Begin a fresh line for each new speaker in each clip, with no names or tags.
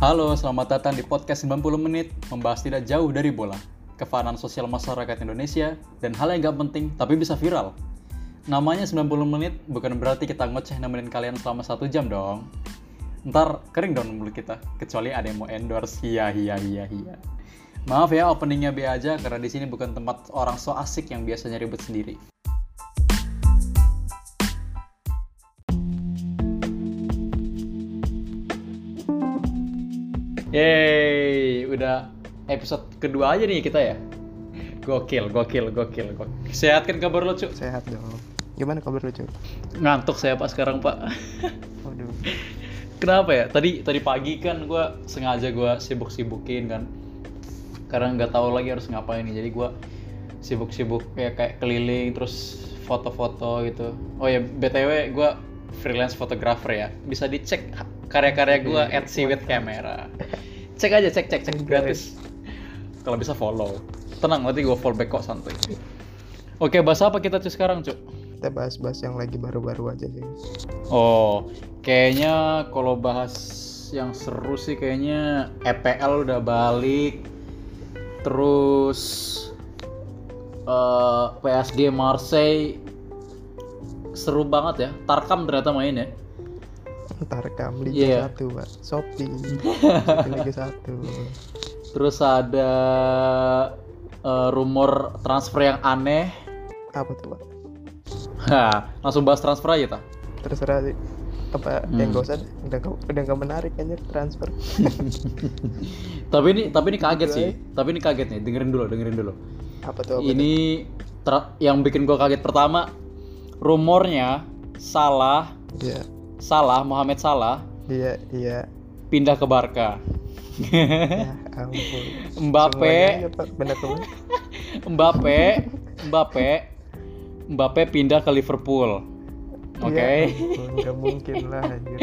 Halo, selamat datang di podcast 90 menit membahas tidak jauh dari bola, kefanan sosial masyarakat Indonesia, dan hal yang gak penting tapi bisa viral. Namanya 90 menit bukan berarti kita ngoceh nemenin kalian selama satu jam dong. Ntar kering dong mulut kita, kecuali ada yang mau endorse, Iya, hiya hiya hiya hiya. Maaf ya openingnya B aja karena di sini bukan tempat orang so asik yang biasanya ribet sendiri. Yeay, udah episode kedua aja nih kita ya. Gokil, gokil, gokil, gokil. Sehat kan kabar lo, Cuk?
Sehat dong. Gimana kabar lu, Cuk?
Ngantuk saya Pak sekarang, Pak.
Waduh.
Kenapa ya? Tadi tadi pagi kan gua sengaja gua sibuk-sibukin kan. Karena nggak tahu lagi harus ngapain nih. Jadi gua sibuk-sibuk kayak kayak keliling terus foto-foto gitu. Oh ya, BTW gua freelance fotografer ya. Bisa dicek karya-karya gua at Sea with camera. Cek aja, cek cek cek gratis. Kalau bisa follow. Tenang, nanti gua follow back kok santuy. Oke, bahasa apa kita cuy sekarang, Cuk?
Kita bahas-bahas yang lagi baru-baru aja sih.
Oh, kayaknya kalau bahas yang seru sih kayaknya EPL udah balik. Terus eh, PSG Marseille seru banget ya. Tarkam ternyata main ya.
Ntar kam
Iya.
Liga 1, Pak. Shopee. Shopee Liga 1.
Terus ada eh, rumor transfer yang aneh.
Apa tuh, Pak?
Hah, langsung bahas transfer aja ta.
Terserah sih. Apa yang
Hmm.
gak usah deh. udah gak, udah gak menarik anjir transfer.
Tapi ini tapi ini kaget sih. Tapi ini kaget nih. Dengerin dulu, dengerin dulu.
Apa tuh?
Iya.
Apa tuh?
Ini tra- yang bikin gua kaget pertama rumornya salah
Iya.
salah Mohamed Salah
Iya, iya.
pindah ke Barca.
Ya ampun.
Mbappe,
Semuanya aja, Pak. Benar tuh.
Mbappe, Mbappe, Mbappe pindah ke Liverpool. Oke.
Enggak Iya, mungkin lah anjir.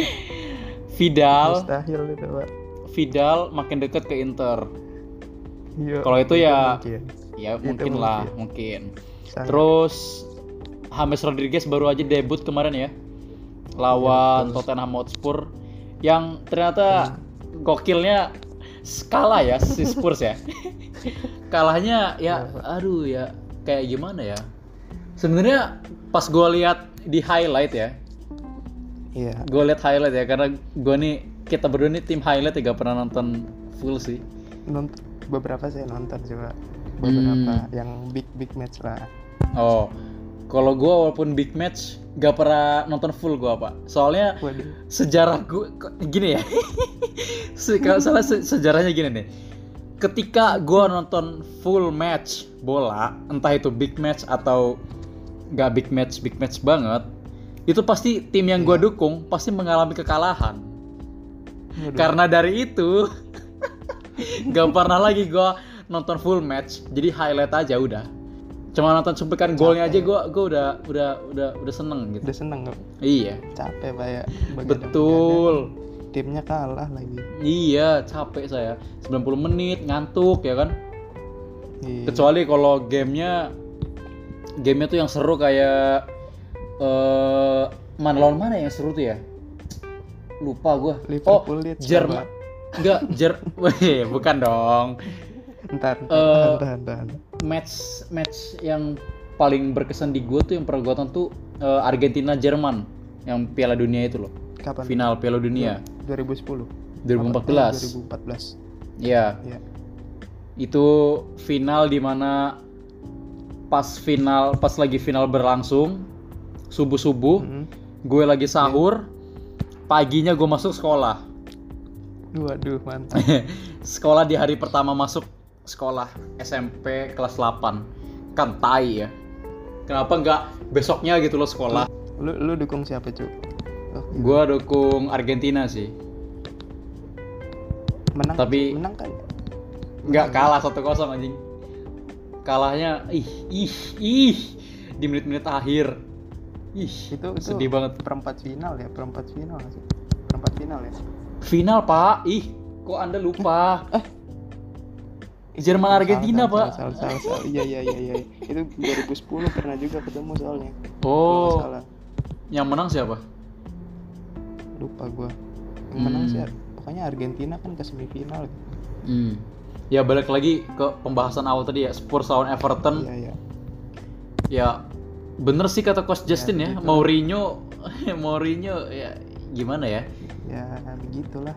Vidal,
Mustahil itu, Pak.
Vidal makin deket ke Inter.
Iya.
Kalau itu ya-
mungkin.
Ya
Itu
mungkin lah, mungkin.
Sangat.
Terus James Rodriguez baru aja debut kemarin ya lawan Tottenham Hotspur yang ternyata gokilnya skala ya si Spurs ya. Kalahnya ya aduh ya kayak gimana ya? Sebenarnya pas gua lihat di highlight ya,
Iya.
gue lihat highlight ya karena gua nih kita berdua nih tim highlight ya gak pernah nonton full sih.
nonton beberapa saya nonton juga beberapa
Hmm.
yang big big match lah
Oh, kalau gua walaupun big match gak pernah nonton full gua pak. Soalnya
waduh
sejarah gue gini ya Se- kalau salah se- sejarahnya gini nih ketika gue nonton full match bola entah itu big match atau nggak big match big match banget itu pasti tim yang gue dukung pasti mengalami kekalahan
Waduh.
karena dari itu nggak pernah lagi gue nonton full match jadi highlight aja udah cuma nonton suntikan golnya aja gue gue udah udah udah udah seneng gitu
udah seneng nggak?
iya
capek pak ya Begadang-begadang.
betul
timnya kalah lagi
Iya, capek saya. 90 menit ngantuk ya kan.
Iya.
Kecuali kalau gamenya gamenya tuh yang seru kayak eh mana lawan mana yang seru tuh ya? Lupa gua. oh,
Liverpool Leeds,
Jerman. Enggak, Jer Weh, bukan dong.
ntar
Eh.
ntar tahan tahan
Match match yang paling berkesan di gua tuh yang pernah gua tonton tuh eh, Argentina Jerman yang Piala Dunia itu loh.
kapan
Final Piala Dunia
2010
2014.
Iya. Apa? Eh, 2014
Iya.
ya
itu final di mana pas final pas lagi final berlangsung subuh subuh
Mm-mm.
gue lagi
Iya.
sahur paginya gue masuk sekolah
waduh mantap
sekolah di hari pertama masuk sekolah SMP kelas 8 kan tai ya kenapa nggak besoknya gitu loh sekolah
lu lu dukung siapa cu Oh,
gue dukung Argentina sih
menang
Tapi-
menang kan Hmm.
nggak kalah 1-0 anjing kalahnya ih ih ih di menit-menit akhir ih
itu, itu
sedih banget
perempat final ya perempat final nggak sih perempat final ya
Final pak, ih kok anda lupa? Jerman Argentina
Eh. Salah,
pak.
salah, salah, salah, salah. iya iya iya iya itu 2010 pernah juga ketemu soalnya Kalau nggak
Oh,
salah
yang menang siapa?
lupa gua yang menang
Hmm.
sih oh, makanya Argentina kan ke semifinal
Hmm. Ya balik lagi ke pembahasan awal tadi ya Spurs lawan Everton.
iya iya
Ya bener sih kata Coach Justin ya,
gitu.
Mourinho Mourinho ya gimana ya?
ya begitulah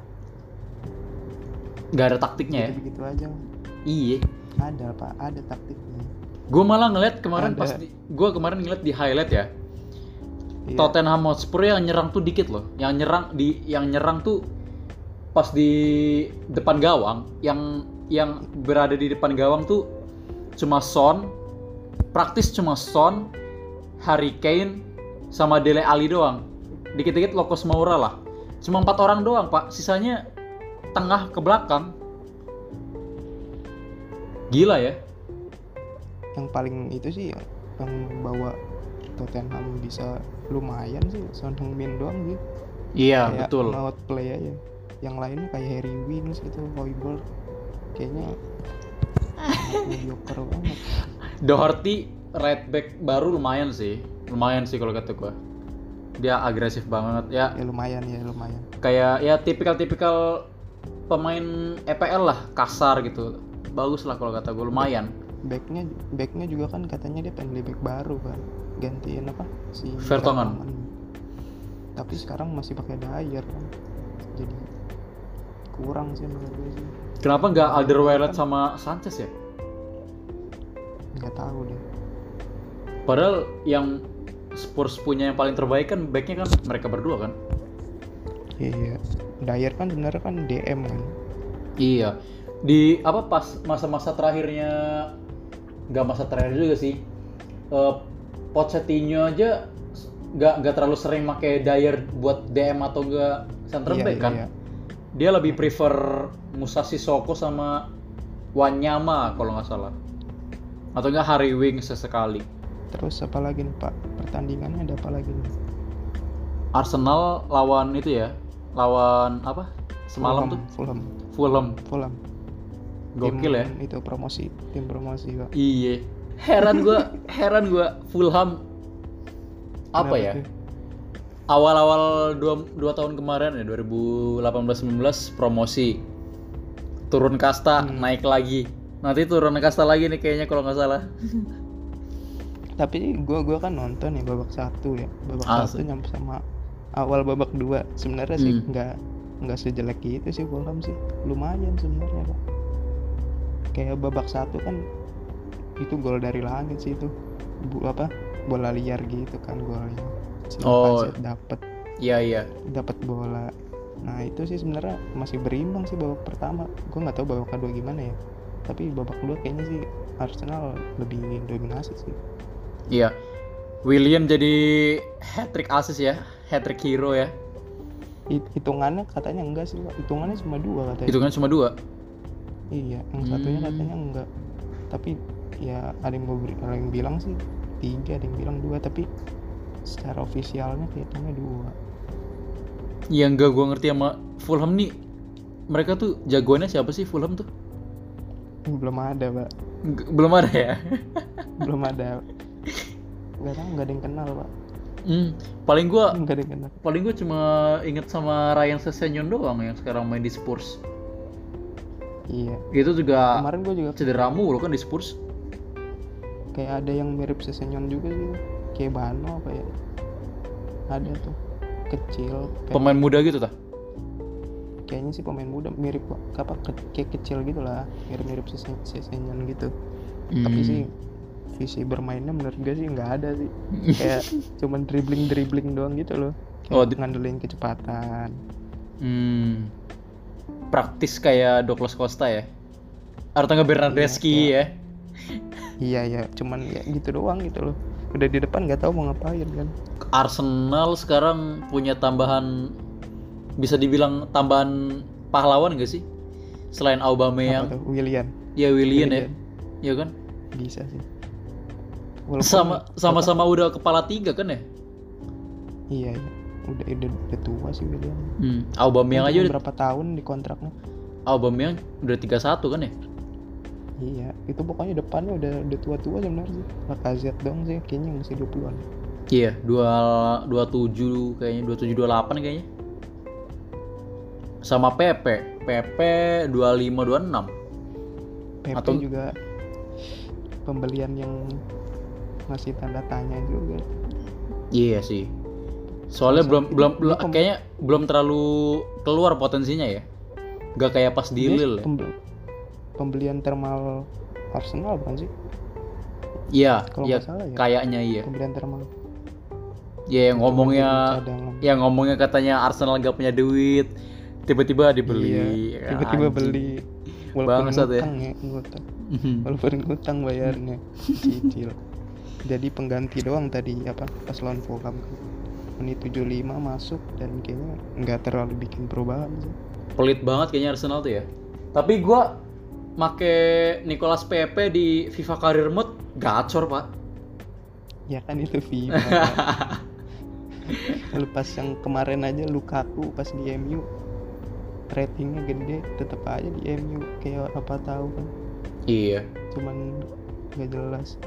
Gak ada taktiknya ya.
begitu aja
Iya.
ada pak ada taktiknya
Gue malah ngeliat kemarin
Ada.
pas gue kemarin ngeliat di highlight ya.
Iya.
Tottenham Hotspur yang nyerang tuh dikit loh. Yang nyerang di yang nyerang tuh pas di depan gawang, yang yang berada di depan gawang tuh cuma Son, praktis cuma Son, Harry Kane sama Dele Ali doang. Dikit-dikit Lokos Moura lah. Cuma empat orang doang, Pak. Sisanya tengah ke belakang. Gila ya.
yang paling itu sih yang bawa Tottenham bisa lumayan sih Son Heung-min doang sih
Iya,
kayak
betul.
out play aja yang lainnya kayak Harry Winks gitu Hoiberg kayaknya mediocre banget
Doherty right back baru lumayan sih. Lumayan sih kalau kata gua. Dia agresif banget ya
ya lumayan ya lumayan
kayak ya tipikal-tipikal pemain EPL lah, kasar gitu. Bagus lah kalau kata gua lumayan.
backnya backnya juga kan katanya dia pengen beli back baru kan gantiin apa si
Vertonghen.
Vertonghen. tapi sekarang masih pakai Dyer kan jadi kurang sih menurut gue sih
Kenapa nggak Alderweireld sama Sanchez ya?
nggak tahu deh
Padahal yang Spurs punya yang paling terbaik kan backnya kan mereka berdua kan.
iya iya Dyer kan sebenarnya kan DM kan
Iya. Di apa pas masa-masa terakhirnya nggak masa terakhir juga sih. Eh Pochettino aja nggak nggak terlalu sering pakai Dyer buat DM atau enggak center
Iya,
back
iya,
kan.
iya.
Dia lebih prefer Musa Sissoko sama Wanyama kalau nggak salah. Atau enggak Harry Wing sesekali.
terus apa lagi nih pak pertandingannya ada apa lagi nih
Arsenal lawan itu ya, lawan apa? Semalam tuh
Fulham
Fulham.
Fulham Tim
Gokil ya.
itu promosi tim promosi pak
Iya. Heran gua, heran gua Fulham apa
Kenapa
ya?
tuh?
Awal-awal dua, dua tahun kemarin ya 2018-19 promosi turun kasta
Hmm.
naik lagi. Nanti turun kasta lagi nih kayaknya kalau nggak salah.
tapi gue gua kan nonton ya babak satu ya babak
Ah,
satu
se-
nyampe sama awal babak dua sebenarnya sih
Hmm.
nggak nggak sejelek gitu sih Fulham sih lumayan sebenarnya pak kayak babak satu kan itu gol dari langit sih itu Bu, apa bola liar gitu kan golnya si
Oh.
Lacazette dapet
Iya iya.
dapat bola nah itu sih sebenarnya masih berimbang sih babak pertama gue nggak tahu babak kedua gimana ya tapi babak kedua kayaknya sih Arsenal lebih dominasi sih
Iya. William jadi hat trick assist ya, hat trick hero ya.
Hmm. Hit- hitungannya katanya enggak sih Pak. hitungannya cuma dua katanya
Hitungan cuma dua.
iya yang satunya
Hmm.
katanya enggak tapi ya ada yang, beber- ada yang bilang sih tiga ada yang bilang dua tapi secara ofisialnya kehitungnya dua
Yang gak Iya, gua ngerti sama Fulham nih mereka tuh jagoannya siapa sih Fulham tuh?
belum ada pak
Nggak- Belum ada ya.
belum ada nggak tahu nggak ada yang kenal pak
Hmm, paling gua
nggak ada yang kenal
paling gue cuma inget sama Ryan Sessegnon doang yang sekarang main di Spurs.
iya
Itu juga
kemarin gue juga
cedera mulu kan di Spurs.
kayak ada yang mirip sesenyon juga sih kayak Bano apa ya ada tuh kecil kayak-
Pemain muda gitu tah.
kayaknya sih pemain muda mirip apa ke- kayak kecil gitu lah mirip-mirip Sesen- sesenyon gitu tapi sih
Hmm.
visi bermainnya menurut gue sih nggak ada sih kayak cuman dribbling dribbling doang gitu loh kayak
Oh, di-
ngandelin kecepatan
Hmm. Praktis kayak Douglas Costa ya. Atau nggak Bernardeschi ya.
iya iya cuman ya gitu doang gitu loh udah di depan nggak tahu mau ngapain kan
Arsenal sekarang punya tambahan bisa dibilang tambahan pahlawan gak sih? Selain
Apa
Aubameyang,
tuh William
ya Willian ya.
Willian.
Iya kan?
bisa sih Walaupun-
Sama sama-sama udah kepala tiga kan ya?
iya iya udah udah, udah tua sih William
Hmm. Aubameyang aja udah
berapa tahun di kontraknya
Aubameyang udah 31 kan ya?
iya itu pokoknya depannya udah udah tua-tua sebenarnya sih Lacazette dong sih kayaknya masih 20-an
Iya, dua 27 kayaknya 27 28 kayaknya. sama PP PP 2526
PP
Atau-
juga pembelian yang masih tanda tanya juga
iya sih soalnya belum belum
Dia pem-
kayaknya belum terlalu keluar potensinya ya gak kayak pas di
Dia
Lille ya.
pembe- pembelian thermal Arsenal bukan sih
iya
kalau
iya
nggak salah ya
kayaknya iya
pembelian thermal
ya yang ngomongnya
cadangan.
yang ngomongnya katanya Arsenal gak punya duit tiba-tiba dibeli ya kan?
Iya, tiba-tiba
Anjing.
beli walaupun
Bangsat ya.
ngutang ya, ngutang.
Mhm.
walaupun ngutang bayarnya cicil jadi pengganti doang tadi apa pas lawan Fulham menit 75 masuk dan kayaknya nggak terlalu bikin perubahan sih
pelit banget kayaknya Arsenal tuh ya. Tapi gua make Nicolas Pepe di FIFA Career Mode gacor, Pak.
ya kan itu FIFA Lu pas yang kemarin aja Lukaku pas di MU ratingnya gede tetap aja di MU kayak apa tahu kan
Iya.
cuman nggak jelas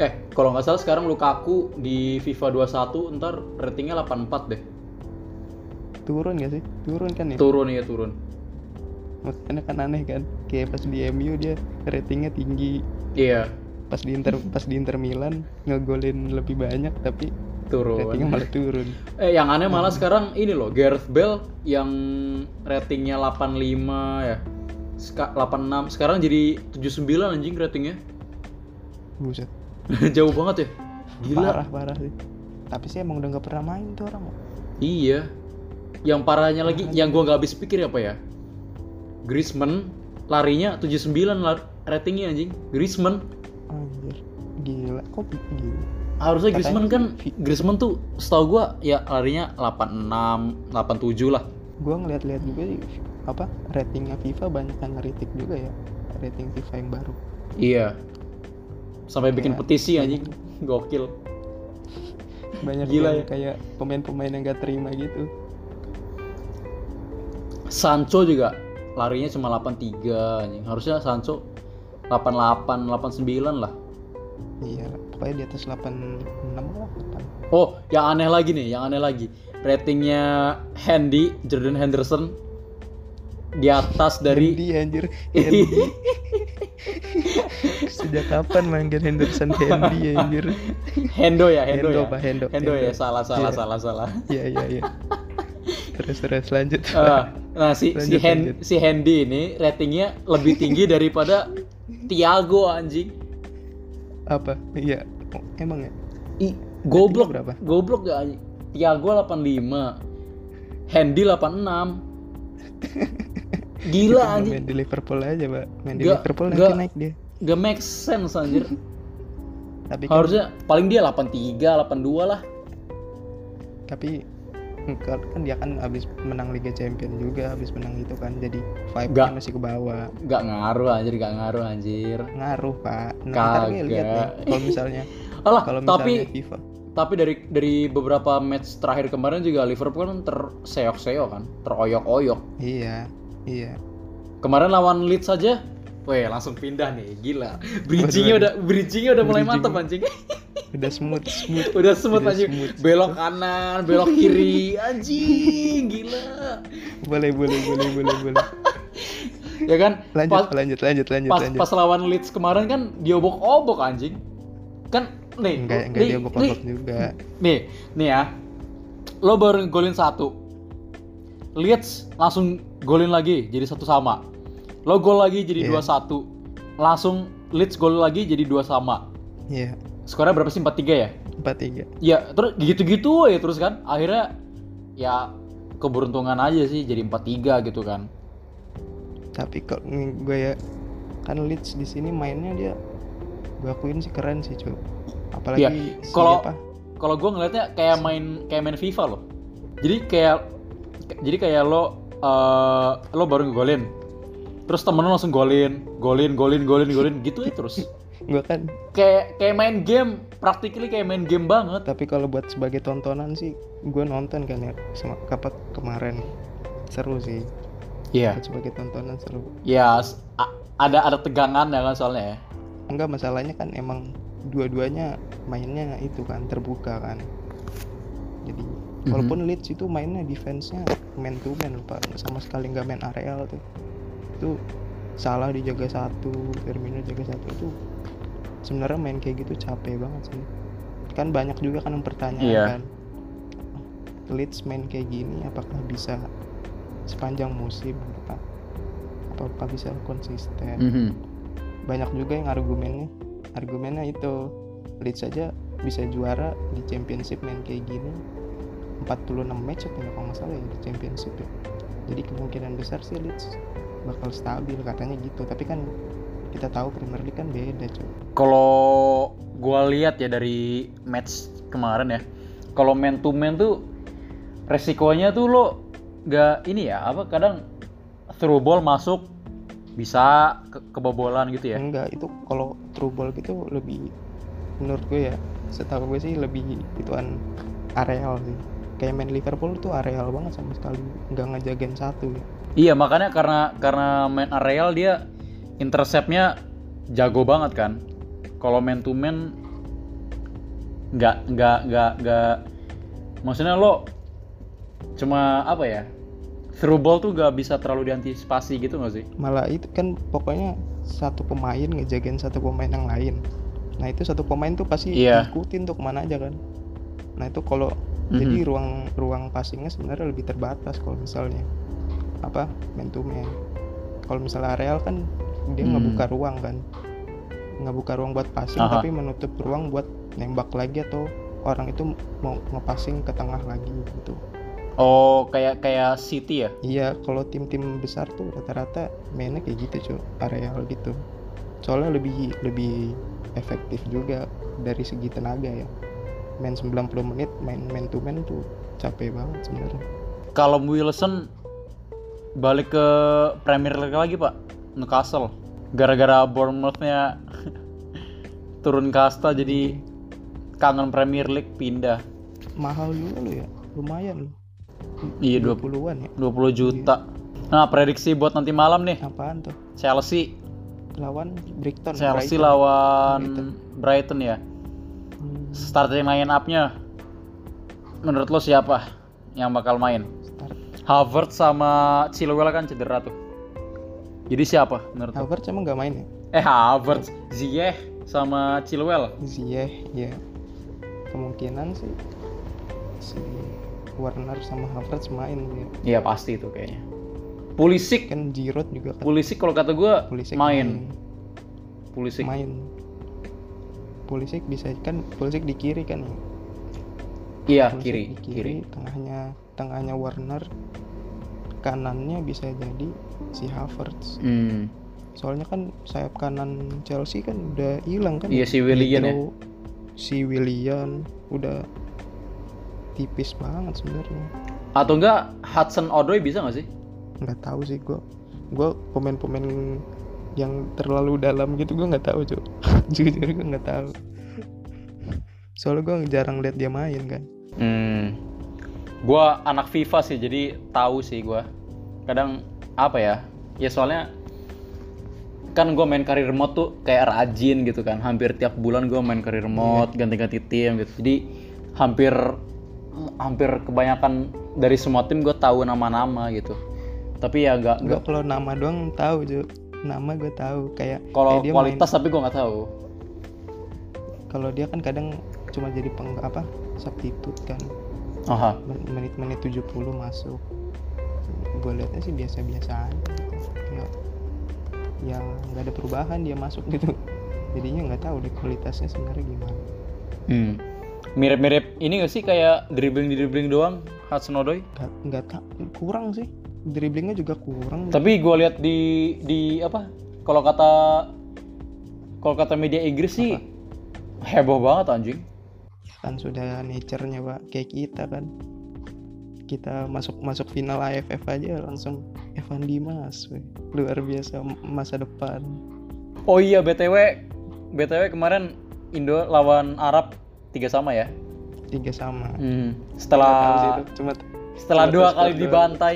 Eh, kalau nggak salah sekarang Lukaku di FIFA 21 ntar ratingnya 84 deh.
turun gak sih turun kan ya
Turun ya, turun.
makanya kan aneh kan kayak pas di MU dia ratingnya tinggi
Iya,
pas di Inter pas di Inter Milan ngegolin lebih banyak tapi ratingnya
turun.
malah turun
Eh, yang aneh malah sekarang ini loh, Gareth Bale yang ratingnya 85 ya. Seka- 86 sekarang jadi 79 anjing ratingnya.
buset
Jauh banget ya. Gila.
parah parah sih tapi sih emang udah nggak pernah main tuh orang
Iya. Yang parahnya lagi, yang gua nggak habis pikir apa ya? Griezmann larinya 79 lar- ratingnya anjing. Griezmann
anjir gila kok gila
harusnya
Katanya
Griezmann kan
fi-
Griezmann tuh setahu gua ya larinya 86, 87 lah.
gue ngeliat-liat juga sih apa ratingnya FIFA banyak yang ngeritik juga ya rating FIFA yang baru
Iya. Sampai bikin
Iya.
petisi anjing. Gokil.
banyak
Gila ya.
yang kayak pemain-pemain yang gak terima gitu
Sancho juga larinya cuma 83 anjing. Harusnya Sancho 88, 89 lah.
iya pokoknya di atas 86 lah kan
Oh, yang aneh lagi nih, yang aneh lagi. Ratingnya Handy, Jordan Henderson di atas dari
Andy anjir Andy sejak kapan manggil Henderson Andy anjir
Hendo ya, Hendo,
Hendo,
ya.
Pak, Hendo,
Hendo ya,
Hendo.
salah salah
Iya.
salah salah.
iya iya iya terus terus lanjut
Eh, nah si si
Lanjut,
Hen-
lanjut.
si Handy ini ratingnya lebih tinggi daripada Tiago anjing.
apa iya Oh, emang ya
I, goblok
berapa?
Goblok gak anjing. Tiago 85. Handy 86. Gila
Cuma
anjing.
main di Liverpool aja pak main di
Nggak-
Liverpool
nggak.
nanti naik dia
Gak make sense anjir.
tapi kan
Harusnya paling dia 83, 82 lah.
tapi engkau- kan dia kan habis menang Liga Champion juga habis menang itu kan jadi vibe
Nggak.
masih ke bawah
Gak ngaruh anjir, gak ngaruh anjir.
ngaruh pak nah, ntar gue lihat nih
Kagak.
kalau misalnya
Alah,
kalau misalnya
tapi
FIFA
tapi dari dari beberapa match terakhir kemarin juga Liverpool kan terseok-seok kan, teroyok-oyok.
iya iya
Kemarin lawan Leeds saja, weh langsung pindah nih, gila. Bridgingnya udah
Waduh,
bridgingnya udah mulai
Bridging.
mantep anjing.
udah smooth smooth
udah smooth
Udah
anjing.
smooth.
Belok kanan, belok kiri, anjing, gila.
boleh boleh boleh boleh boleh
Ya kan?
lanjut
Pas-
lanjut lanjut lanjut
pas
lanjut
pas lawan Leeds kemarin kan diobok-obok anjing kan nih
enggak
lu-
enggak
nih,
dia bokok juga
nih nih ya lo baru golin satu Leeds langsung golin lagi jadi satu sama lo gol lagi jadi
Iya.
dua satu langsung Leeds gol lagi jadi dua sama
iya
skornya berapa sih empat tiga ya
empat tiga
ya terus gitu-gitu ya terus kan akhirnya ya keberuntungan aja sih jadi empat tiga gitu kan
tapi kalau ng- gue ya kan Leeds di sini mainnya dia gue akuin sih keren sih cuy apalagi
Iya,
si
kalau-
apa,
kalau gue ngelihatnya kayak main kayak main FIFA loh. Jadi kayak jadi kayak lo eh, lo baru ngegolin. Terus temen lo langsung golin, golin, golin, golin, golin gitu ya terus.
gue kan
Kayak kayak main game, practically kayak main game banget.
tapi kalau buat sebagai tontonan sih gue nonton kan ya sama kapat kemarin seru sih
Iya.
Buat sebagai tontonan seru
Ya s- a- ada ada tegangan ya kan soalnya ya.
enggak masalahnya kan emang dua-duanya mainnya itu kan terbuka kan jadinya walaupun Leeds itu mainnya defense-nya man to man lupa sama sekali nggak main areal tuh itu salah dijaga satu Firmino jaga satu itu sebenarnya main kayak gitu capek banget sih kan banyak juga kan yang pertanyaan
Iya.
kan Leeds main kayak gini apakah bisa sepanjang musim apa apakah bisa konsisten
Mhm.
banyak juga yang argumennya argumennya itu Leeds saja bisa juara di championship main kayak gini 46 match apa ya kalau nggak salah ya di championship ya jadi kemungkinan besar sih Leeds bakal stabil katanya gitu tapi kan kita tahu Premier League kan beda cuy
kalau gua lihat ya dari match kemarin ya kalau man to man tuh resikonya tuh lo gak ini ya apa kadang through ball masuk bisa ke- kebobolan gitu ya
enggak itu kalau true ball gitu lebih menurut gue ya setahu gue sih lebih ituan areal sih kayak main Liverpool tuh areal banget sama sekali nggak ngejagain satu ya
iya makanya karena karena main areal dia interceptnya jago banget kan kalau man to man nggak nggak nggak nggak maksudnya lo cuma apa ya through ball tuh gak bisa terlalu diantisipasi gitu nggak sih
malah itu kan pokoknya satu pemain ngejagain satu pemain yang lain nah itu satu pemain tuh pasti
Iya.
ngikutin tuh kemana aja kan nah itu kalau
Mhm.
jadi ruang ruang passingnya sebenarnya lebih terbatas kalau misalnya apa man to man kalau misalnya areal kan dia
Hmm.
ngebuka ruang kan ngebuka ruang buat passing
Aha.
tapi menutup ruang buat nembak lagi atau orang itu mau ngepassing ke tengah lagi gitu
Oh, kayak kayak City ya?
Iya, kalau tim-tim besar tuh rata-rata mainnya kayak gitu cuy, areal gitu. Soalnya lebih lebih efektif juga dari segi tenaga ya. Main 90 menit, main main to man tuh capek banget sebenarnya.
Kalau Wilson balik ke Premier League lagi, Pak. Newcastle. Gara-gara Bournemouth-nya turun kasta jadi kangen Premier League pindah.
Mahal juga lo ya, lumayan loh.
Iya, 20,
20-an ya.
20 juta. Nah, prediksi buat nanti malam nih.
Apaan tuh?
Chelsea,
Lawan Brighton.
Chelsea
Kan Brighton. Brighton.
lawan Brighton ya.
Hmm,
Starting line up-nya menurut lo siapa yang bakal main?
start.
Harvard sama Chilwell kan cedera tuh. Jadi siapa menurut lo?
Havertz emang nggak main ya?
Eh Harvard, Ziyech sama Chilwell.
Ziyech ya kemungkinan sih si Warner sama Havertz main ya.
Iya pasti itu kayaknya. Pulisic,
Kan Giroud juga kan
Pulisic kalau kata gua
Pulisic
main. Pulisic.
kan main Pulisic bisa kan Pulisic di kiri kan ya?
Iya
Pulisic
kiri,
di
kiri.
tengahnya tengahnya Warner kanannya bisa jadi si Havertz
Hmm.
soalnya kan sayap kanan Chelsea kan udah hilang kan
Iya si Willian ya.
Mitro, si Willian udah tipis banget sebenarnya
Atau enggak Hudson Odoi bisa nggak sih?
nggak tahu sih gue gue pemain-pemain yang terlalu dalam gitu gue nggak tahu cuy jujur gue nggak tahu soalnya gue jarang lihat dia main kan
Hmm. Gua anak FIFA sih, jadi tahu sih gua. Kadang apa ya? Ya soalnya kan gua main karir mode tuh kayak rajin gitu kan. Hampir tiap bulan gua main karir mode, ganti-ganti tim gitu. Jadi hampir hampir kebanyakan dari semua tim gua tahu nama-nama gitu. Tapi ya nggak
gue
nggak-
kalau nama doang tahu cuy nama gue tahu kayak
kalau
kayak Eh, dia
kualitas tapi gua nggak tahu.
main- kalau dia kan kadang cuma jadi peng apa substitute kan
Aha.
Men- menit-menit 70 masuk gue liatnya sih biasa-biasa aja gitu. Nggak- ya nggak ada perubahan dia masuk gitu jadinya nggak tahu deh kualitasnya sebenarnya gimana
Hmm. Mirip-mirip ini nggak sih kayak dribbling-dribbling doang Hudson Odoi?
Nggak- nggak tak kurang sih dribblingnya juga kurang
Tapi gue lihat di di apa? Kalau kata kalau kata media Inggris sih heboh banget anjing.
kan sudah nature-nya pak kayak kita kan kita masuk masuk final AFF aja langsung Evan Dimas weh. luar biasa m- masa depan
Oh iya BTW BTW kemarin Indo lawan Arab tiga sama ya.
tiga sama
Hmm.
Tahu sih
Setelah
itu, cuma
setelah
Cuma
dua
terus
kali
terus.
dibantai.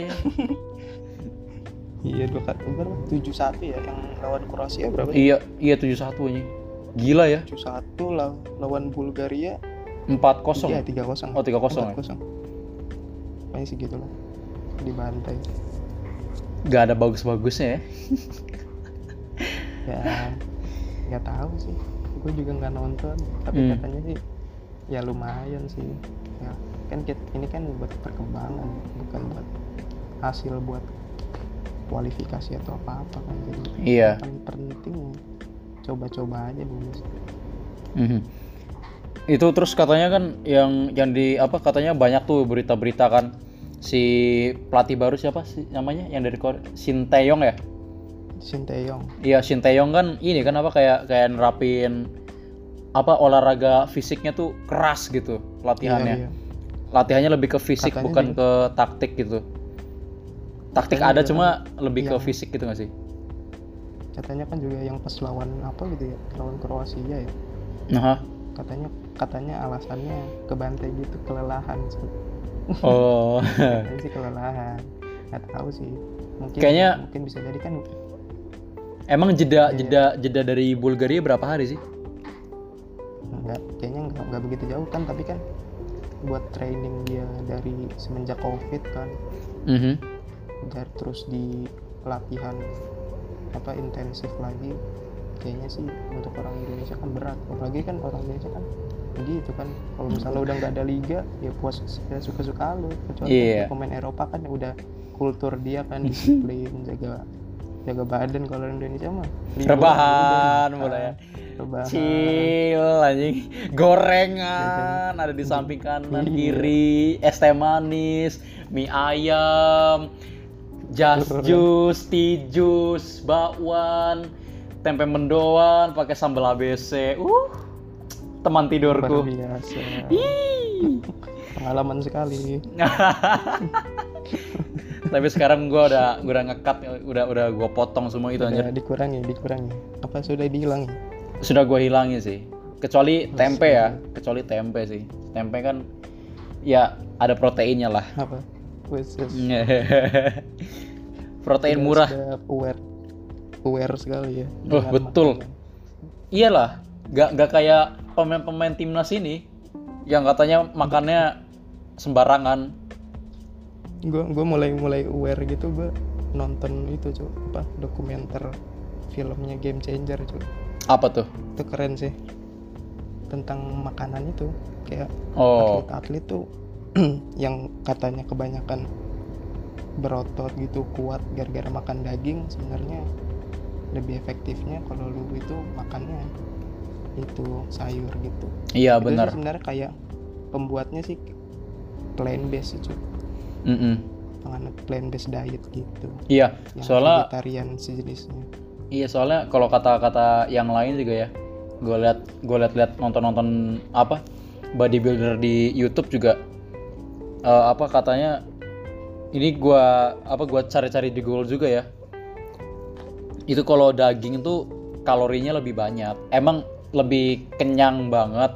iya dua kali berapa tujuh satu ya yang lawan Kroasia berapa
iya iya tujuh satu anjing. Gila ya.
tujuh satu lawan Bulgaria
empat kosong
Iya tiga kosong.
Oh, 3-0 ya?
kosong. Pokoknya segitu lah. Dibantai.
nggak ada bagus-bagusnya ya
Ya nggak tahu sih. Gue juga nggak nonton. Tapi
Hmm.
katanya sih ya lumayan sih. Ya, kan kit- ini kan buat perkembangan bukan buat hasil buat kualifikasi atau apa apa kan jadi
iya
paling penting coba-coba aja dulu sih.
Mhm. itu terus katanya kan yang yang di apa katanya banyak tuh berita-berita kan si pelatih baru siapa sih namanya yang dari Korea Sinteyong ya
Sinteyong
Iya Sinteyong kan ini kan apa kayak kayak nerapin apa olahraga fisiknya tuh keras gitu latihannya.
Iya, iya.
Latihannya lebih ke fisik
Katanya
bukan
dia-
ke taktik gitu. Taktik
Katanya
ada
dia
cuma lebih ke
iya.
fisik gitu gak sih?
katanya kan juga yang pas lawan apa gitu ya lawan Kroasia ya
Nah,
katanya katanya alasannya kebantai gitu kelelahan sih
oh
Katanya sih kelelahan nggak tahu sih mungkin
Kayaknya-
mungkin bisa jadi kan
emang jeda
Iya.
jeda jeda dari Bulgaria berapa hari sih?
nggak kayaknya nggak nggak begitu jauh kan tapi kan buat training dia dari semenjak covid kan
Mhm.
dari terus di latihan apa intensif lagi kayaknya sih untuk orang Indonesia kan berat apalagi kan orang Indonesia kan begitu kan kalau misalnya udah nggak ada liga ya puas ya suka-suka lu kecuali kan
Iya.
kayak pemain Eropa kan udah kultur dia kan disiplin jaga jaga badan kalau orang Indonesia mah liburan
Rebahan
udah. Ah,
mulai ya.
rebahan
Cil anjing. Gorengan ada di samping kanan
Iya.
kiri, es teh manis, mie ayam, jas
Bener.
jus, ti jus, bakwan, tempe mendoan pakai sambal ABC. Uh. Teman
luar
tidurku.
biasa
Ih.
pengalaman sekali
Tapi sekarang gua udah gua udah ngekat udah udah gua potong semua itu anjir.
udah dikurangi dikurangi apa sudah dihilangi
sudah gua hilangin sih kecuali tempe ya kecuali tempe sih tempe kan ya ada proteinnya lah
apa Wes,
protein
Sudah-
murah
sudah aware aware sekali ya
Oh,
dengan
betul.
makanan.
iyalah nggak nggak kayak pemain-pemain timnas ini yang katanya makannya sembarangan
gua gua mulai mulai aware gitu gua nonton itu cuy apa dokumenter filmnya game changer cuy
apa tuh
itu keren sih tentang makanan itu kayak
oh
atlet-atlet tuh yang katanya kebanyakan berotot gitu kuat gara-gara makan daging sebenarnya lebih efektifnya kalau lu itu makannya itu sayur gitu
iya
Itu sih
benar
sebenarnya kayak pembuatnya sih plant based itu
Mm-mm.
penganut plant based diet gitu
iya
yang
Soalnya-
vegetarian sejenisnya
iya soalnya kalau kata-kata yang lain juga ya gue liat gue liat-liat nonton-nonton apa bodybuilder di YouTube juga eh, apa katanya ini gua apa gua cari-cari di Google juga ya itu kalau daging itu kalorinya lebih banyak emang lebih kenyang banget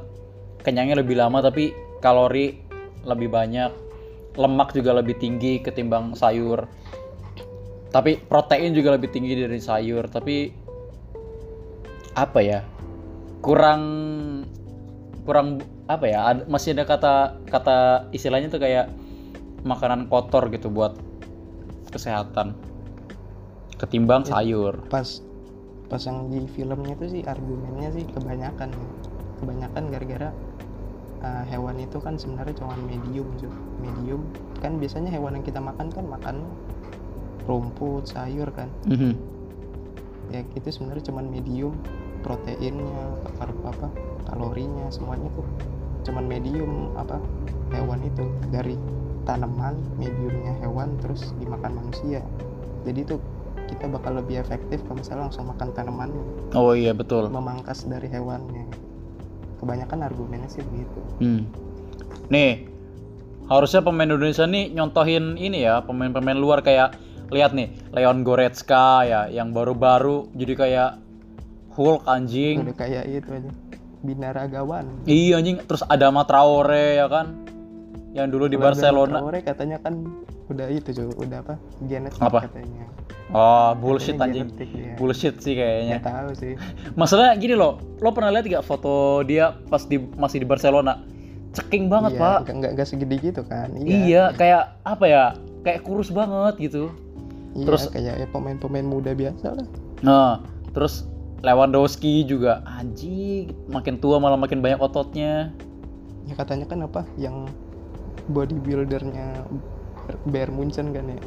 kenyangnya lebih lama tapi kalori lebih banyak lemak juga lebih tinggi ketimbang sayur tapi protein juga lebih tinggi dari sayur tapi apa ya kurang kurang apa ya ada- masih ada kata kata istilahnya tuh kayak makanan kotor gitu buat kesehatan ketimbang sayur
pas pas yang di filmnya itu sih argumennya sih kebanyakan ya. kebanyakan gara-gara uh, hewan itu kan sebenarnya cuma medium Ju. medium kan biasanya hewan yang kita makan kan makan rumput sayur kan
Mhm.
ya itu sebenarnya cuman medium proteinnya kar- apa kalorinya semuanya tuh cuman medium apa hewan itu dari tanaman mediumnya hewan terus dimakan manusia jadi tuh kita bakal lebih efektif kalau misalnya langsung makan tanamannya
oh iya betul
memangkas dari hewannya kebanyakan argumennya sih begitu
Hmm. Nih, harusnya pemain Indonesia nih nyontohin ini ya, pemain-pemain luar kayak lihat nih, Leon Goretzka ya yang baru-baru jadi kayak Hulk anjing.
udah kayak itu aja binaragawan
Iya anjing, terus ada Traore ya kan. Yang dulu di
Kalau
Barcelona.
Bang Traore katanya kan udah itu cuy udah apa genetik
Apa?
katanya
Oh, bullshit
Katanya
anjing.
genetik, ya.
Bullshit sih
nggak
kayaknya.
tahu sih
Masalah gini loh, lo pernah lihat gak foto dia pas di masih di Barcelona? ceking banget
Iya,
pak
nggak- nggak nggak segede gitu kan iya,
iya kayak apa ya kayak kurus banget gitu
iya,
terus-
kayak ya, pemain-pemain muda biasa lah
Nah, terus Lewandowski juga anjing, makin tua malah makin banyak ototnya.
ya katanya kan apa yang bodybuildernya Bayern Munchen kan ya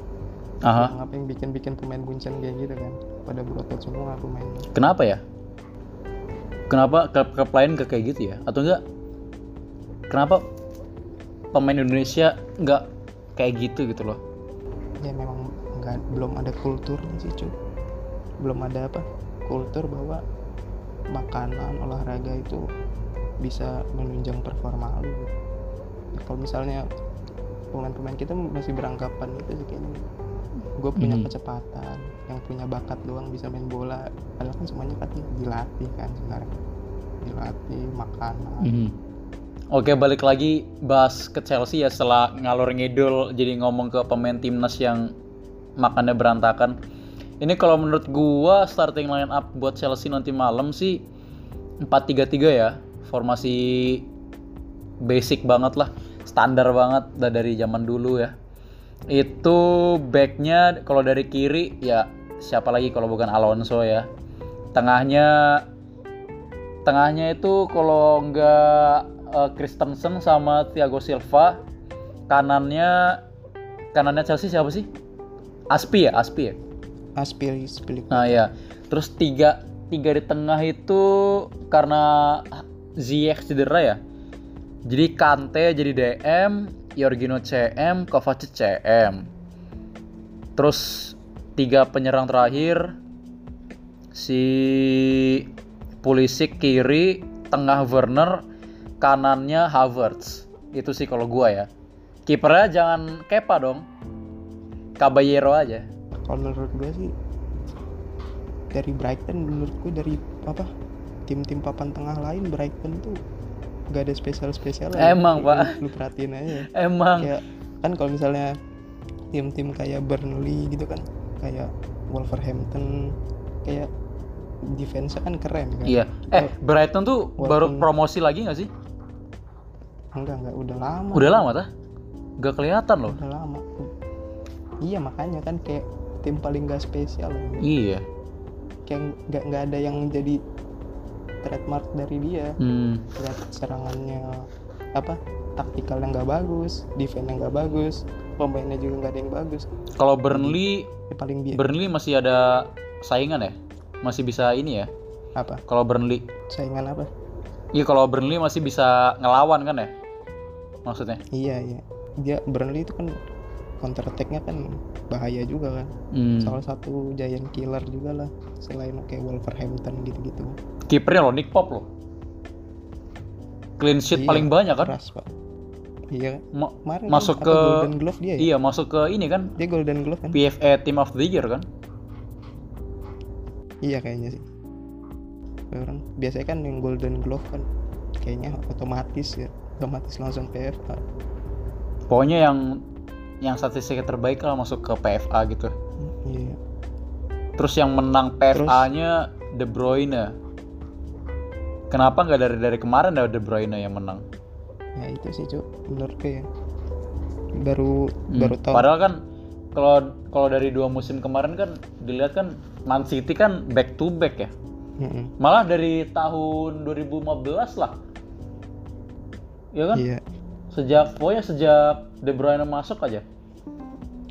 Aha,
yang apa yang bikin-bikin pemain Munchen kayak gitu kan pada berotot semua pemain
kenapa ya? Kenapa klub-klub lain gak kayak gitu ya? Atau enggak? Kenapa pemain Indonesia nggak kayak gitu gitu loh?
ya memang nggak belum ada kulturnya sih cuy belum ada apa kultur bahwa makanan olahraga itu bisa menunjang performa lu Ya, kalau misalnya pemain-pemain kita masih beranggapan itu sih kayaknya gue punya
Mhm.
kecepatan yang punya bakat doang bisa main bola padahal kan semuanya katanya dilatih kan sebenarnya dilatih makanan
Hmm. Mm-hmm. Oke, balik lagi bahas ke Chelsea ya setelah ngalor ngidul jadi ngomong ke pemain timnas yang makannya berantakan. Ini kalau menurut gua starting line up buat Chelsea nanti malam sih 4-3-3 ya. Formasi basic banget lah, standar banget dah dari zaman dulu ya. Itu backnya kalau dari kiri ya siapa lagi kalau bukan Alonso ya. Tengahnya tengahnya itu kalau nggak eh, Christensen sama Thiago Silva kanannya kanannya Chelsea siapa sih Aspi ya Aspi ya
Ah, aspiris pilih
nah ya terus tiga tiga di tengah itu karena Ziyech cedera ya jadi Kante jadi DM Jorginho CM Kovacic CM terus tiga penyerang terakhir si Pulisic kiri, tengah Werner, kanannya Havertz. Itu sih kalau gua ya. Kipernya jangan Kepa dong. Caballero aja.
kalau menurut gue sih dari Brighton menurut gue dari apa tim-tim papan tengah lain Brighton tuh gak ada spesial spesial
Emang, Pak.
lu perhatiin aja
Emang
kayak kan kalau misalnya tim-tim kayak Burnley gitu kan kayak Wolverhampton kayak defense kan keren kan
iya. Eh, Brighton tuh baru
Walaupun-
promosi lagi nggak sih?
enggak enggak udah lama
Udah lama tah? Gak kelihatan loh.
udah lama iya makanya kan kayak tim paling gak spesial
Iya.
kayak nggak nggak ada yang jadi trademark dari dia
Hmm.
lihat serangannya apa taktikal yang nggak bagus, defense yang nggak bagus, pemainnya juga nggak ada yang bagus.
Kalau Burnley,
Ya, paling bi
Burnley masih ada saingan ya? Masih bisa ini ya?
apa
Kalau Burnley.
saingan apa?
Iya, kalau Burnley masih bisa ngelawan kan ya? Maksudnya?
Iya iya dia Burnley itu kan counter attack-nya kan bahaya juga kan.
Hmm.
Salah satu giant killer juga lah selain kayak Wolverhampton gitu-gitu.
Kan? kipernya loh Nick Pop loh clean sheet
Iya,
paling banyak kan
Keras pak. Iya
Ma-
kemarin kan
Masuk
apa
ke-
Golden Glove dia. Ya?
iya masuk ke ini kan
Dia Golden Glove kan?
PFA Team of the Year kan
Iya kayaknya sih. Orang biasanya kan yang Golden Glove kan kayaknya otomatis ya, otomatis langsung PFA.
pokoknya yang yang statistiknya terbaik lah masuk ke PFA gitu
Iya.
terus yang menang PFA nya De Bruyne kenapa nggak dari dari kemarin dah De Bruyne yang menang
Ya itu sih cuk menurut gue ya. Baru
Hmm.
baru tahu.
padahal kan kalau kalau dari dua musim kemarin kan dilihat kan Man City kan back to back ya
Mm-mm.
malah dari tahun 2015 lah ya kan
Iya.
sejak pokoknya sejak De Bruyne masuk aja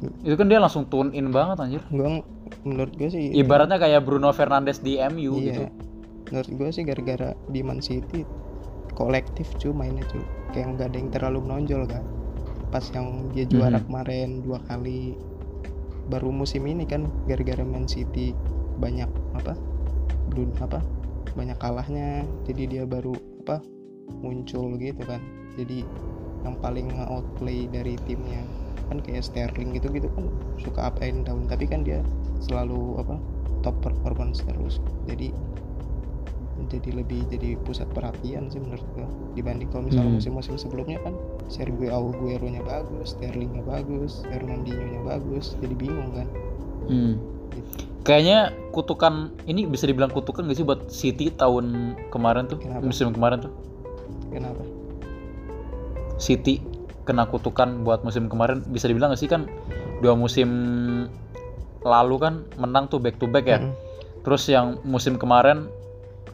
Hmm.
itu kan dia langsung tune in banget anjir
Gue ng- menurut gue sih
ibaratnya kayak Bruno Fernandes di MU
iya.
gitu
Menurut gue sih gara-gara di Man City kolektif cuy mainnya cuy. Kayak nggak ada yang terlalu menonjol kan. Pas yang dia juara
Mhm.
kemarin dua kali baru musim ini kan gara-gara Man City banyak apa belum apa banyak kalahnya jadi dia baru apa muncul gitu kan jadi yang paling outplay dari timnya kan kayak Sterling gitu gitu kan suka up and down tapi kan dia selalu apa top performance terus jadi jadi lebih jadi pusat perhatian sih menurut gua dibanding kalau misalnya
Hmm.
musim-musim sebelumnya kan Sergio Aguero nya bagus Sterling nya bagus Fernandinho nya bagus jadi bingung kan
Hmm. kayaknya kutukan ini bisa dibilang kutukan gak sih buat City tahun kemarin tuh
Kenapa?
musim kemarin tuh
kenapa
City kena kutukan buat musim kemarin bisa dibilang nggak sih kan dua musim lalu kan menang tuh back to back ya.
Mm.
Terus yang musim kemarin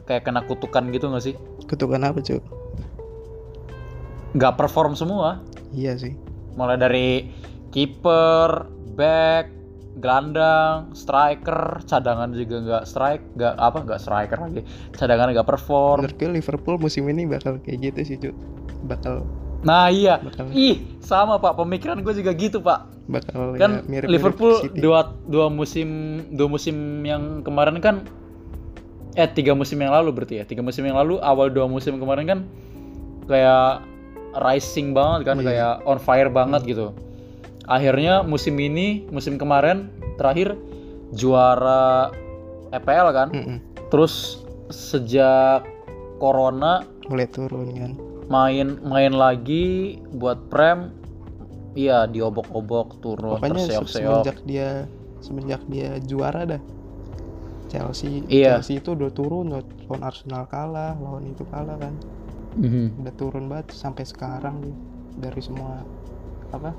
kayak kena kutukan gitu nggak sih?
Kutukan apa cuy?
Nggak perform semua.
Iya sih.
Mulai dari kiper, back, gelandang, striker, cadangan juga nggak strike, nggak apa nggak striker lagi. Cadangan nggak perform.
Menurut gue Liverpool musim ini bakal kayak gitu sih cuy. Bakal
Nah iya,
Bakal-
ih sama pak pemikiran gue juga gitu pak.
bakal ya,
Kan
mirip-mirip
Liverpool
City.
dua dua musim dua musim yang kemarin kan eh tiga musim yang lalu berarti ya tiga musim yang lalu awal dua musim kemarin kan kayak rising banget kan
Iya. Hmm.
kayak on fire banget gitu. Akhirnya musim ini musim kemarin terakhir juara EPL kan.
Mm-mm.
Terus sejak corona
mulai turun kan.
main main lagi buat prem iya diobok-obok turun
Pokoknya se-
terseok-seok
semenjak dia semenjak dia juara dah. Chelsea
Iya.
Chelsea itu udah turun lawan Arsenal kalah, lawan itu kalah kan.
Mhm.
udah turun banget sampai sekarang nih dari semua apa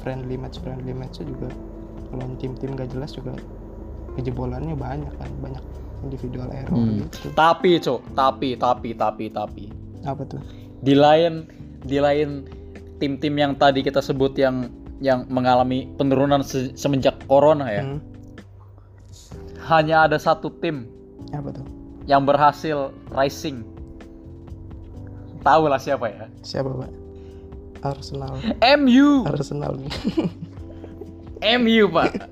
friendly match friendly match juga lawan tim-tim gak jelas juga kejebolannya banyak kan banyak individual error
Hmm.
gitu
tapi cok tapi tapi tapi tapi
apa tuh
di lain di lain tim-tim yang tadi kita sebut yang yang mengalami penurunan se- semenjak corona ya
Hmm,
hanya ada satu tim
apa tuh
yang berhasil rising tahu lah siapa ya
siapa pak Arsenal
MU
Arsenal nih
MU pak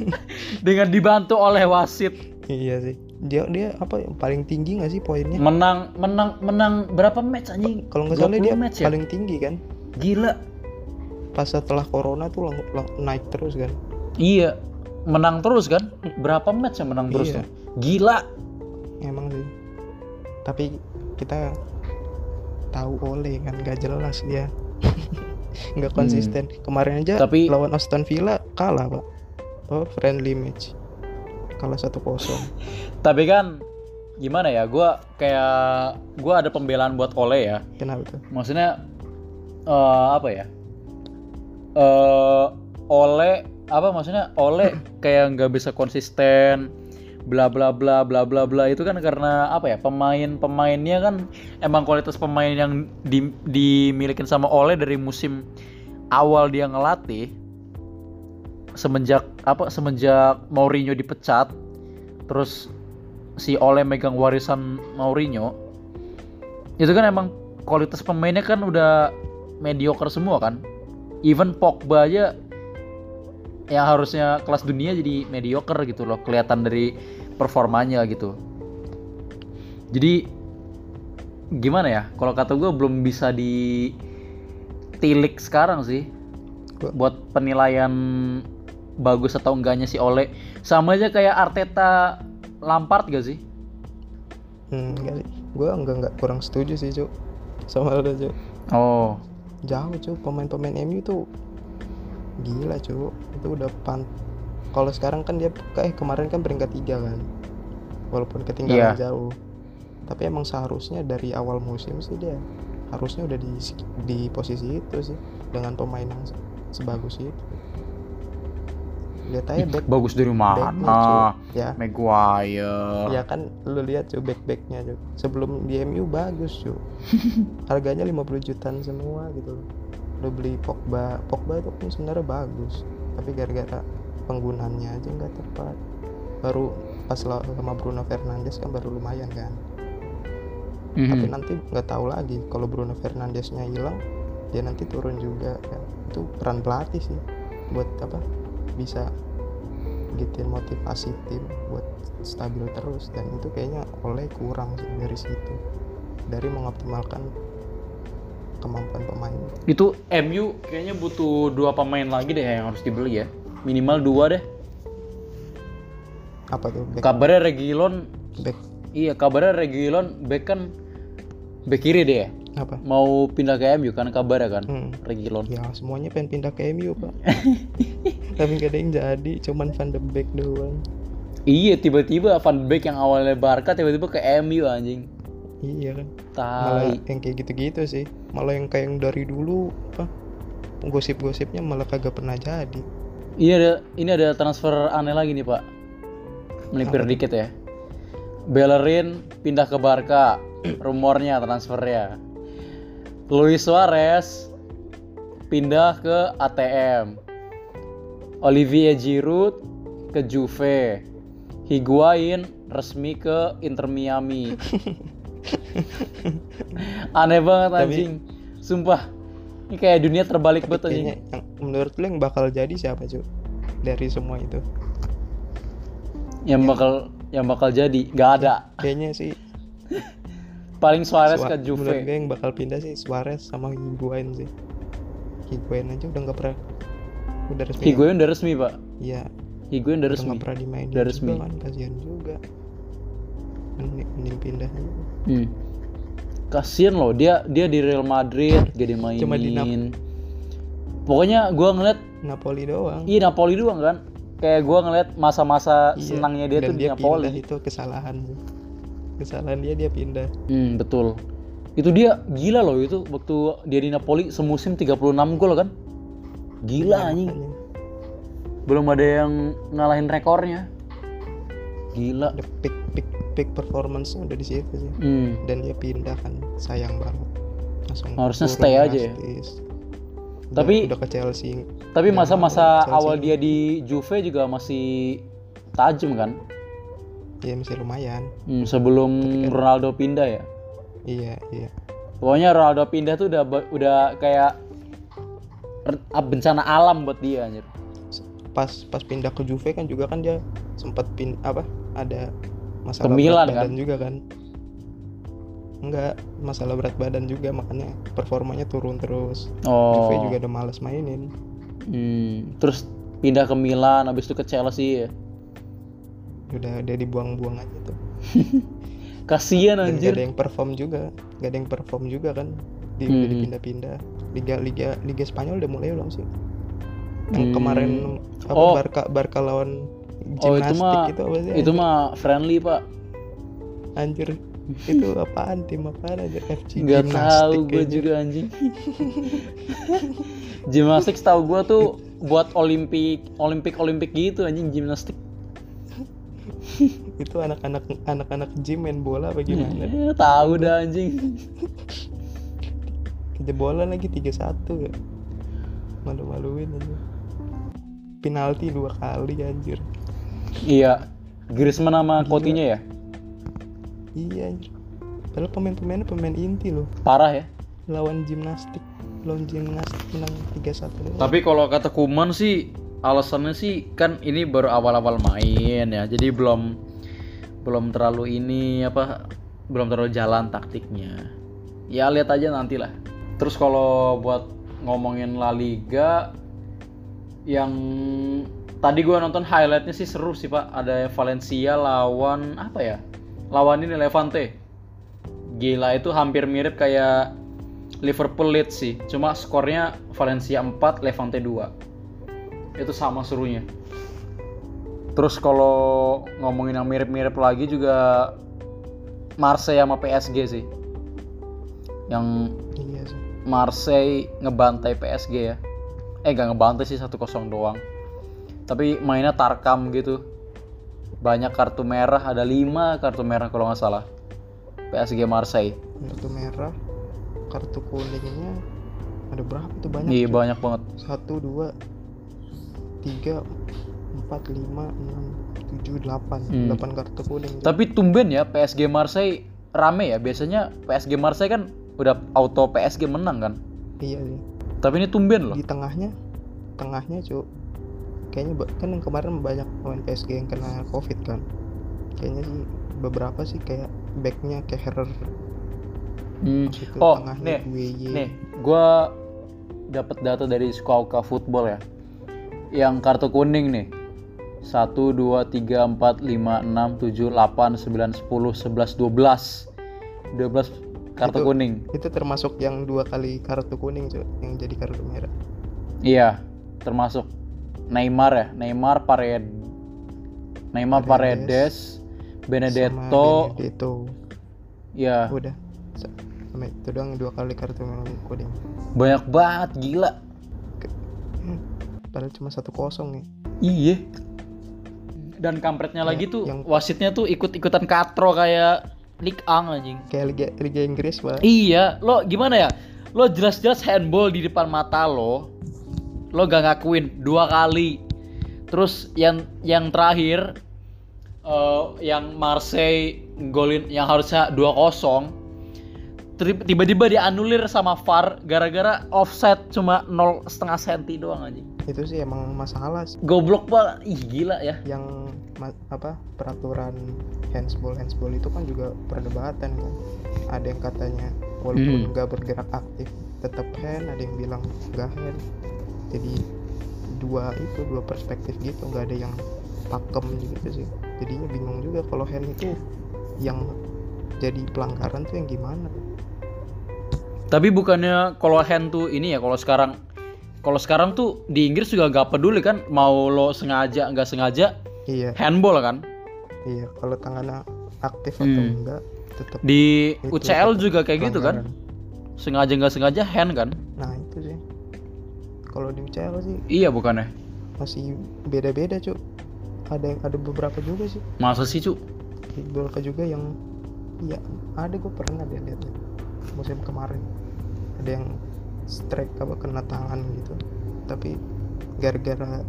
dengan dibantu oleh wasit
iya sih dia dia apa paling tinggi nggak sih poinnya
menang menang menang berapa match anjing
Iya. kalau nggak salah
20
dia
match ya?
paling tinggi kan
gila
pas setelah corona tuh lang- lang- naik terus kan
iya menang terus kan berapa match yang menang terus
Iya.
tuh gila
emang sih tapi kita tahu oleh kan gak jelas dia nggak
Hmm.
konsisten kemarin aja
Tapi-
lawan Aston Villa kalah pak oh friendly match kalah satu kosong
tapi kan gimana ya gua kayak gua ada pembelaan buat Ole ya
kenapa tuh
maksudnya eh, apa ya eh Ole apa maksudnya Ole kayak nggak bisa konsisten bla bla bla bla bla bla itu kan karena apa ya pemain pemainnya kan emang kualitas pemain yang di, dimilikin sama Ole dari musim awal dia ngelatih semenjak apa semenjak Mourinho dipecat terus si Ole megang warisan Mourinho itu kan emang kualitas pemainnya kan udah mediocre semua kan even Pogba aja yang harusnya kelas dunia jadi mediocre gitu loh kelihatan dari performanya gitu jadi gimana ya kalau kata gue belum bisa ditilik sekarang sih
Gua-
buat penilaian bagus atau enggaknya si Ole sama aja kayak Arteta Lampard gak sih
hmm, enggak sih gue enggak enggak kurang setuju sih cuk sama lo cuk
oh
jauh cuk pemain-pemain MU tuh gila cuk itu udah pan kalau sekarang kan dia kayak kemarin kan peringkat tiga kan walaupun ketinggalan
Iya.
jauh tapi emang seharusnya dari awal musim sih dia harusnya udah di di posisi itu sih dengan pemain yang se- sebagus itu lihat aja back
bagus dari
backnya cuk
mana
ya
Maguire
ya kan lu lihat cuy back backnya cuy sebelum di MU bagus cuy harganya 50 jutaan semua gitu loh lu beli Pogba Pogba itu pun sebenarnya bagus tapi gara-gara penggunaannya aja nggak tepat baru pas law- sama Bruno Fernandes kan baru lumayan kan
Mhm.
tapi nanti nggak tahu lagi kalau Bruno Fernandesnya hilang dia nanti turun juga kan itu peran pelatih sih buat apa bisa gituin motivasi tim buat stabil terus dan itu kayaknya oleh kurang sih dari situ dari mengoptimalkan kemampuan pemain
Itu MU kayaknya butuh dua pemain lagi deh yang harus dibeli ya. Minimal dua deh.
apa tuh back
Kabarnya Reguilon,
back
iya kabarnya Reguilon back kan back kiri deh ya.
apa
Mau pindah ke MU kan kabarnya kan
hmm.
Reguilon.
ya semuanya pengen pindah ke MU pak tapi gak ada yang jadi cuman Van de Beek doang
Iya tiba-tiba Van Beek yang awalnya Barca tiba-tiba ke MU anjing.
iya kan malah
tai
yang kayak gitu-gitu sih malah yang kayak yang dari dulu apa gosip-gosipnya malah kagak pernah jadi
ini ada ini ada transfer aneh lagi nih pak melipir
Apa tuh?
dikit ya Bellerin pindah ke Barca rumornya transfernya Luis Suarez pindah ke ATM Olivier Giroud ke Juve Higuain resmi ke Inter Miami aneh banget
Tapi-
anjing sumpah ini kayak dunia terbalik banget anjing
kayaknya yang menurut lu yang bakal jadi siapa cuy dari semua itu
yang
Iya.
bakal yang bakal jadi nggak ada
kayaknya sih
paling Suarez
Sua-
ke
menurut gue
Juve
yang bakal pindah sih Suarez sama Higuain sih Higuain aja udah nggak pernah udah resmi
Higuain udah resmi pak
iya
Higuain udah
udah
resmi
nggak pernah dimainin
Udah
juga
resmi.
kan kasihan juga mending, mending pindah aja
hmm. kasian loh dia dia di Real Madrid gak dimainin
Cuma di
pokoknya gua ngeliat
Napoli doang
iya Napoli doang kan kayak gua ngeliat masa-masa
Iya,
senangnya dia
dan
tuh di
dia
Napoli
pindah itu kesalahan sih. kesalahan dia dia pindah
hmm, betul itu dia gila loh itu waktu dia di Napoli semusim 36 gol kan gila anjing
Makanya
belum ada yang ngalahin rekornya gila
the peak peak peak performance udah di situ sih
hmm.
dan dia pindah kan sayang banget langsung
Harusnya
turun
stay aja ya?
drastis. Udah-
Tapi-
udah ke Chelsea
Tapi
Dan
masa-masa
Chelsea-
awal dia di Juve juga masih tajam kan?
ya masih lumayan
Hmm, sebelum
Tapi kan-
Ronaldo pindah ya.
iya iya
Pokoknya Ronaldo pindah tuh udah ba- udah kayak r- bencana alam buat dia anjir.
pas pas pindah ke Juve kan juga kan dia sempat pin apa ada
Ke
masalah
Milan,
berat badan juga kan enggak masalah berat badan juga makanya performanya turun terus
Oh.
Juve juga udah males mainin
Hmm, terus pindah ke Milan, habis itu ke Chelsea ya.
udah dia dibuang-buang aja tuh
Kasihan
dan gak ada
anjir.
yang perform juga gak ada yang perform juga kan di
Hmm.
udah dipindah-pindah liga liga liga Spanyol udah mulai belum sih yang kemarin
Hmm.
apa
Oh.
Barca Barca lawan
Oh, itu
gimnastik
mah-
itu apa sih
Itu mah friendly, Pak.
anjir itu apaan tim apaan aja FC
Gak tahu gue
kayaknya.
juga anjing. gimnastik tahu gue tuh buat olimpik olimpik olimpik gitu anjing gimnastik.
itu anak-anak anak-anak gym main bola apa gimana ya?
Eh, tahu dah anjing.
kejebolan lagi 3-1 ya malu-maluin aja penalti dua kali anjir
iya, Griezmann sama
Gila.
Coutinho ya.
iya anjir padahal pemain-pemainnya pemain inti loh
Parah ya.
lawan gimnastik lawan gimnastik menang 3-1 doang.
Tapi kalau kata Kuman sih alasannya sih kan ini baru awal-awal main ya. Jadi belum belum terlalu ini apa belum terlalu jalan taktiknya. Ya lihat aja nantilah. Terus kalau buat ngomongin La Liga yang tadi gua nonton highlightnya sih seru sih Pak. Ada Valencia lawan apa ya? Lawan ini Levante. Gila itu hampir mirip kayak Liverpool Leeds sih. Cuma skornya Valencia 4, Levante 2. Itu sama serunya. Terus kalau ngomongin yang mirip-mirip lagi juga Marseille sama PSG sih. Yang
iya sih
Marseille ngebantai PSG ya. Eh gak ngebantai sih 1-0 doang. Tapi mainnya tarkam gitu. Banyak kartu merah, ada 5 kartu merah kalau nggak salah. PSG Marseille.
kartu merah kartu kuningnya ada berapa tuh banyak
Iya
ya? tuh.
banyak banget.
satu dua tiga empat lima enam tujuh delapan
Hmm.
delapan kartu kuning tuh.
Tapi tumben ya PSG Marseille rame ya. Biasanya PSG Marseille kan udah auto PSG menang kan.
iya sih
Tapi ini tumben loh.
di tengahnya tengahnya cu kayaknya ba- kan yang kemarin banyak pemain PSG yang kena covid kan kayaknya sih beberapa sih kayak backnya kayak Herrera
Hmm.
gitu
Oh, nih,
tengahnya Gueye.
nih, gua dapat data dari Squawka Football ya. Yang kartu kuning nih. 1 2 3 4 5 6 7 8 9 10 11 12. 12 kartu
Itu-
kuning.
itu termasuk yang dua kali kartu kuning cu yang jadi kartu merah
Iya, termasuk Neymar ya, Neymar Pared Neymar Paredes,
Paredes,
Benedetto,
itu
ya
udah sa- sama itu doang dua kali kartu merah kuning
banyak banget gila
Hmm. padahal cuma satu kosong ya
iya dan kampretnya
Ya,
lagi tuh
yang-
wasitnya tuh ikut-ikutan katro kayak Nick Ang anjing
kayak liga liga Inggris malah
Iya, lo gimana ya? Lo jelas-jelas handball di depan mata lo. Lo gak ngakuin dua kali. Terus yang yang terakhir eh, yang Marseille golin yang harusnya 2-0 Tri- tiba-tiba dianulir sama VAR gara-gara offside cuma 0,5 setengah senti doang anjing.
itu sih emang masalah sih.
Goblok banget. Ih gila ya.
yang ma- apa peraturan handsball handsball itu kan juga perdebatan kan ada yang katanya walaupun
Hmm.
nggak bergerak aktif tetap hand ada yang bilang nggak hand jadi dua itu dua perspektif gitu nggak ada yang pakem gitu sih jadinya bingung juga kalau hand itu yang jadi pelanggaran tuh yang gimana
Tapi bukannya kalau hand tuh ini ya kalau sekarang kalau sekarang tuh di Inggris juga gak peduli kan mau lo sengaja nggak sengaja
iya
handball kan
iya kalau tangannya aktif atau
Hmm.
enggak tetap
di
Itu
UCL
tetap
juga kayak gitu kan sengaja nggak sengaja hand kan
nah itu sih kalau di UCL sih
iya bukannya
masih beda-beda cuk ada yang ada beberapa juga sih
masa sih cu
beberapa juga yang iya ada gue pernah deh lihat deh. musim kemarin ada yang strike apa kena tangan gitu tapi gara-gara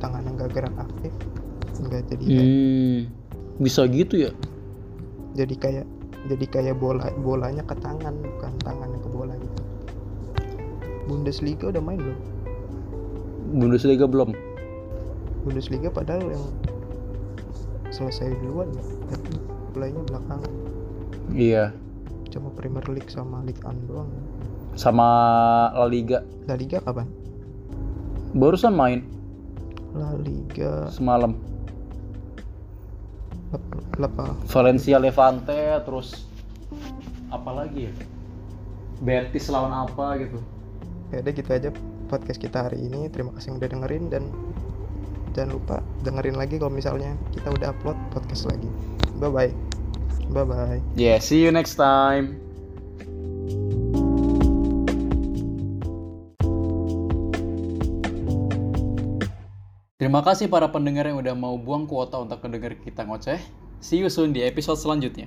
tangan nggak gerak aktif nggak jadi
hmm, bisa gitu ya
jadi kayak jadi kayak bola bolanya ke tangan bukan tangannya ke bola gitu Bundesliga udah main belum
Bundesliga belum
Bundesliga padahal yang selesai duluan ya tapi mulainya belakang
iya
cuma Premier League sama Ligue 1 doang
sama La Liga
La Liga kapan?
barusan main
La Liga
semalam
lep- lepa
Valencia Levante terus apa lagi ya Betis lawan apa gitu
ya udah gitu aja podcast kita hari ini terima kasih yang udah dengerin dan jangan lupa dengerin lagi kalau misalnya kita udah upload podcast lagi bye bye bye bye
yeah see you next time Terima kasih para pendengar yang udah mau buang kuota untuk mendengar kita ngoceh. See you soon di episode selanjutnya.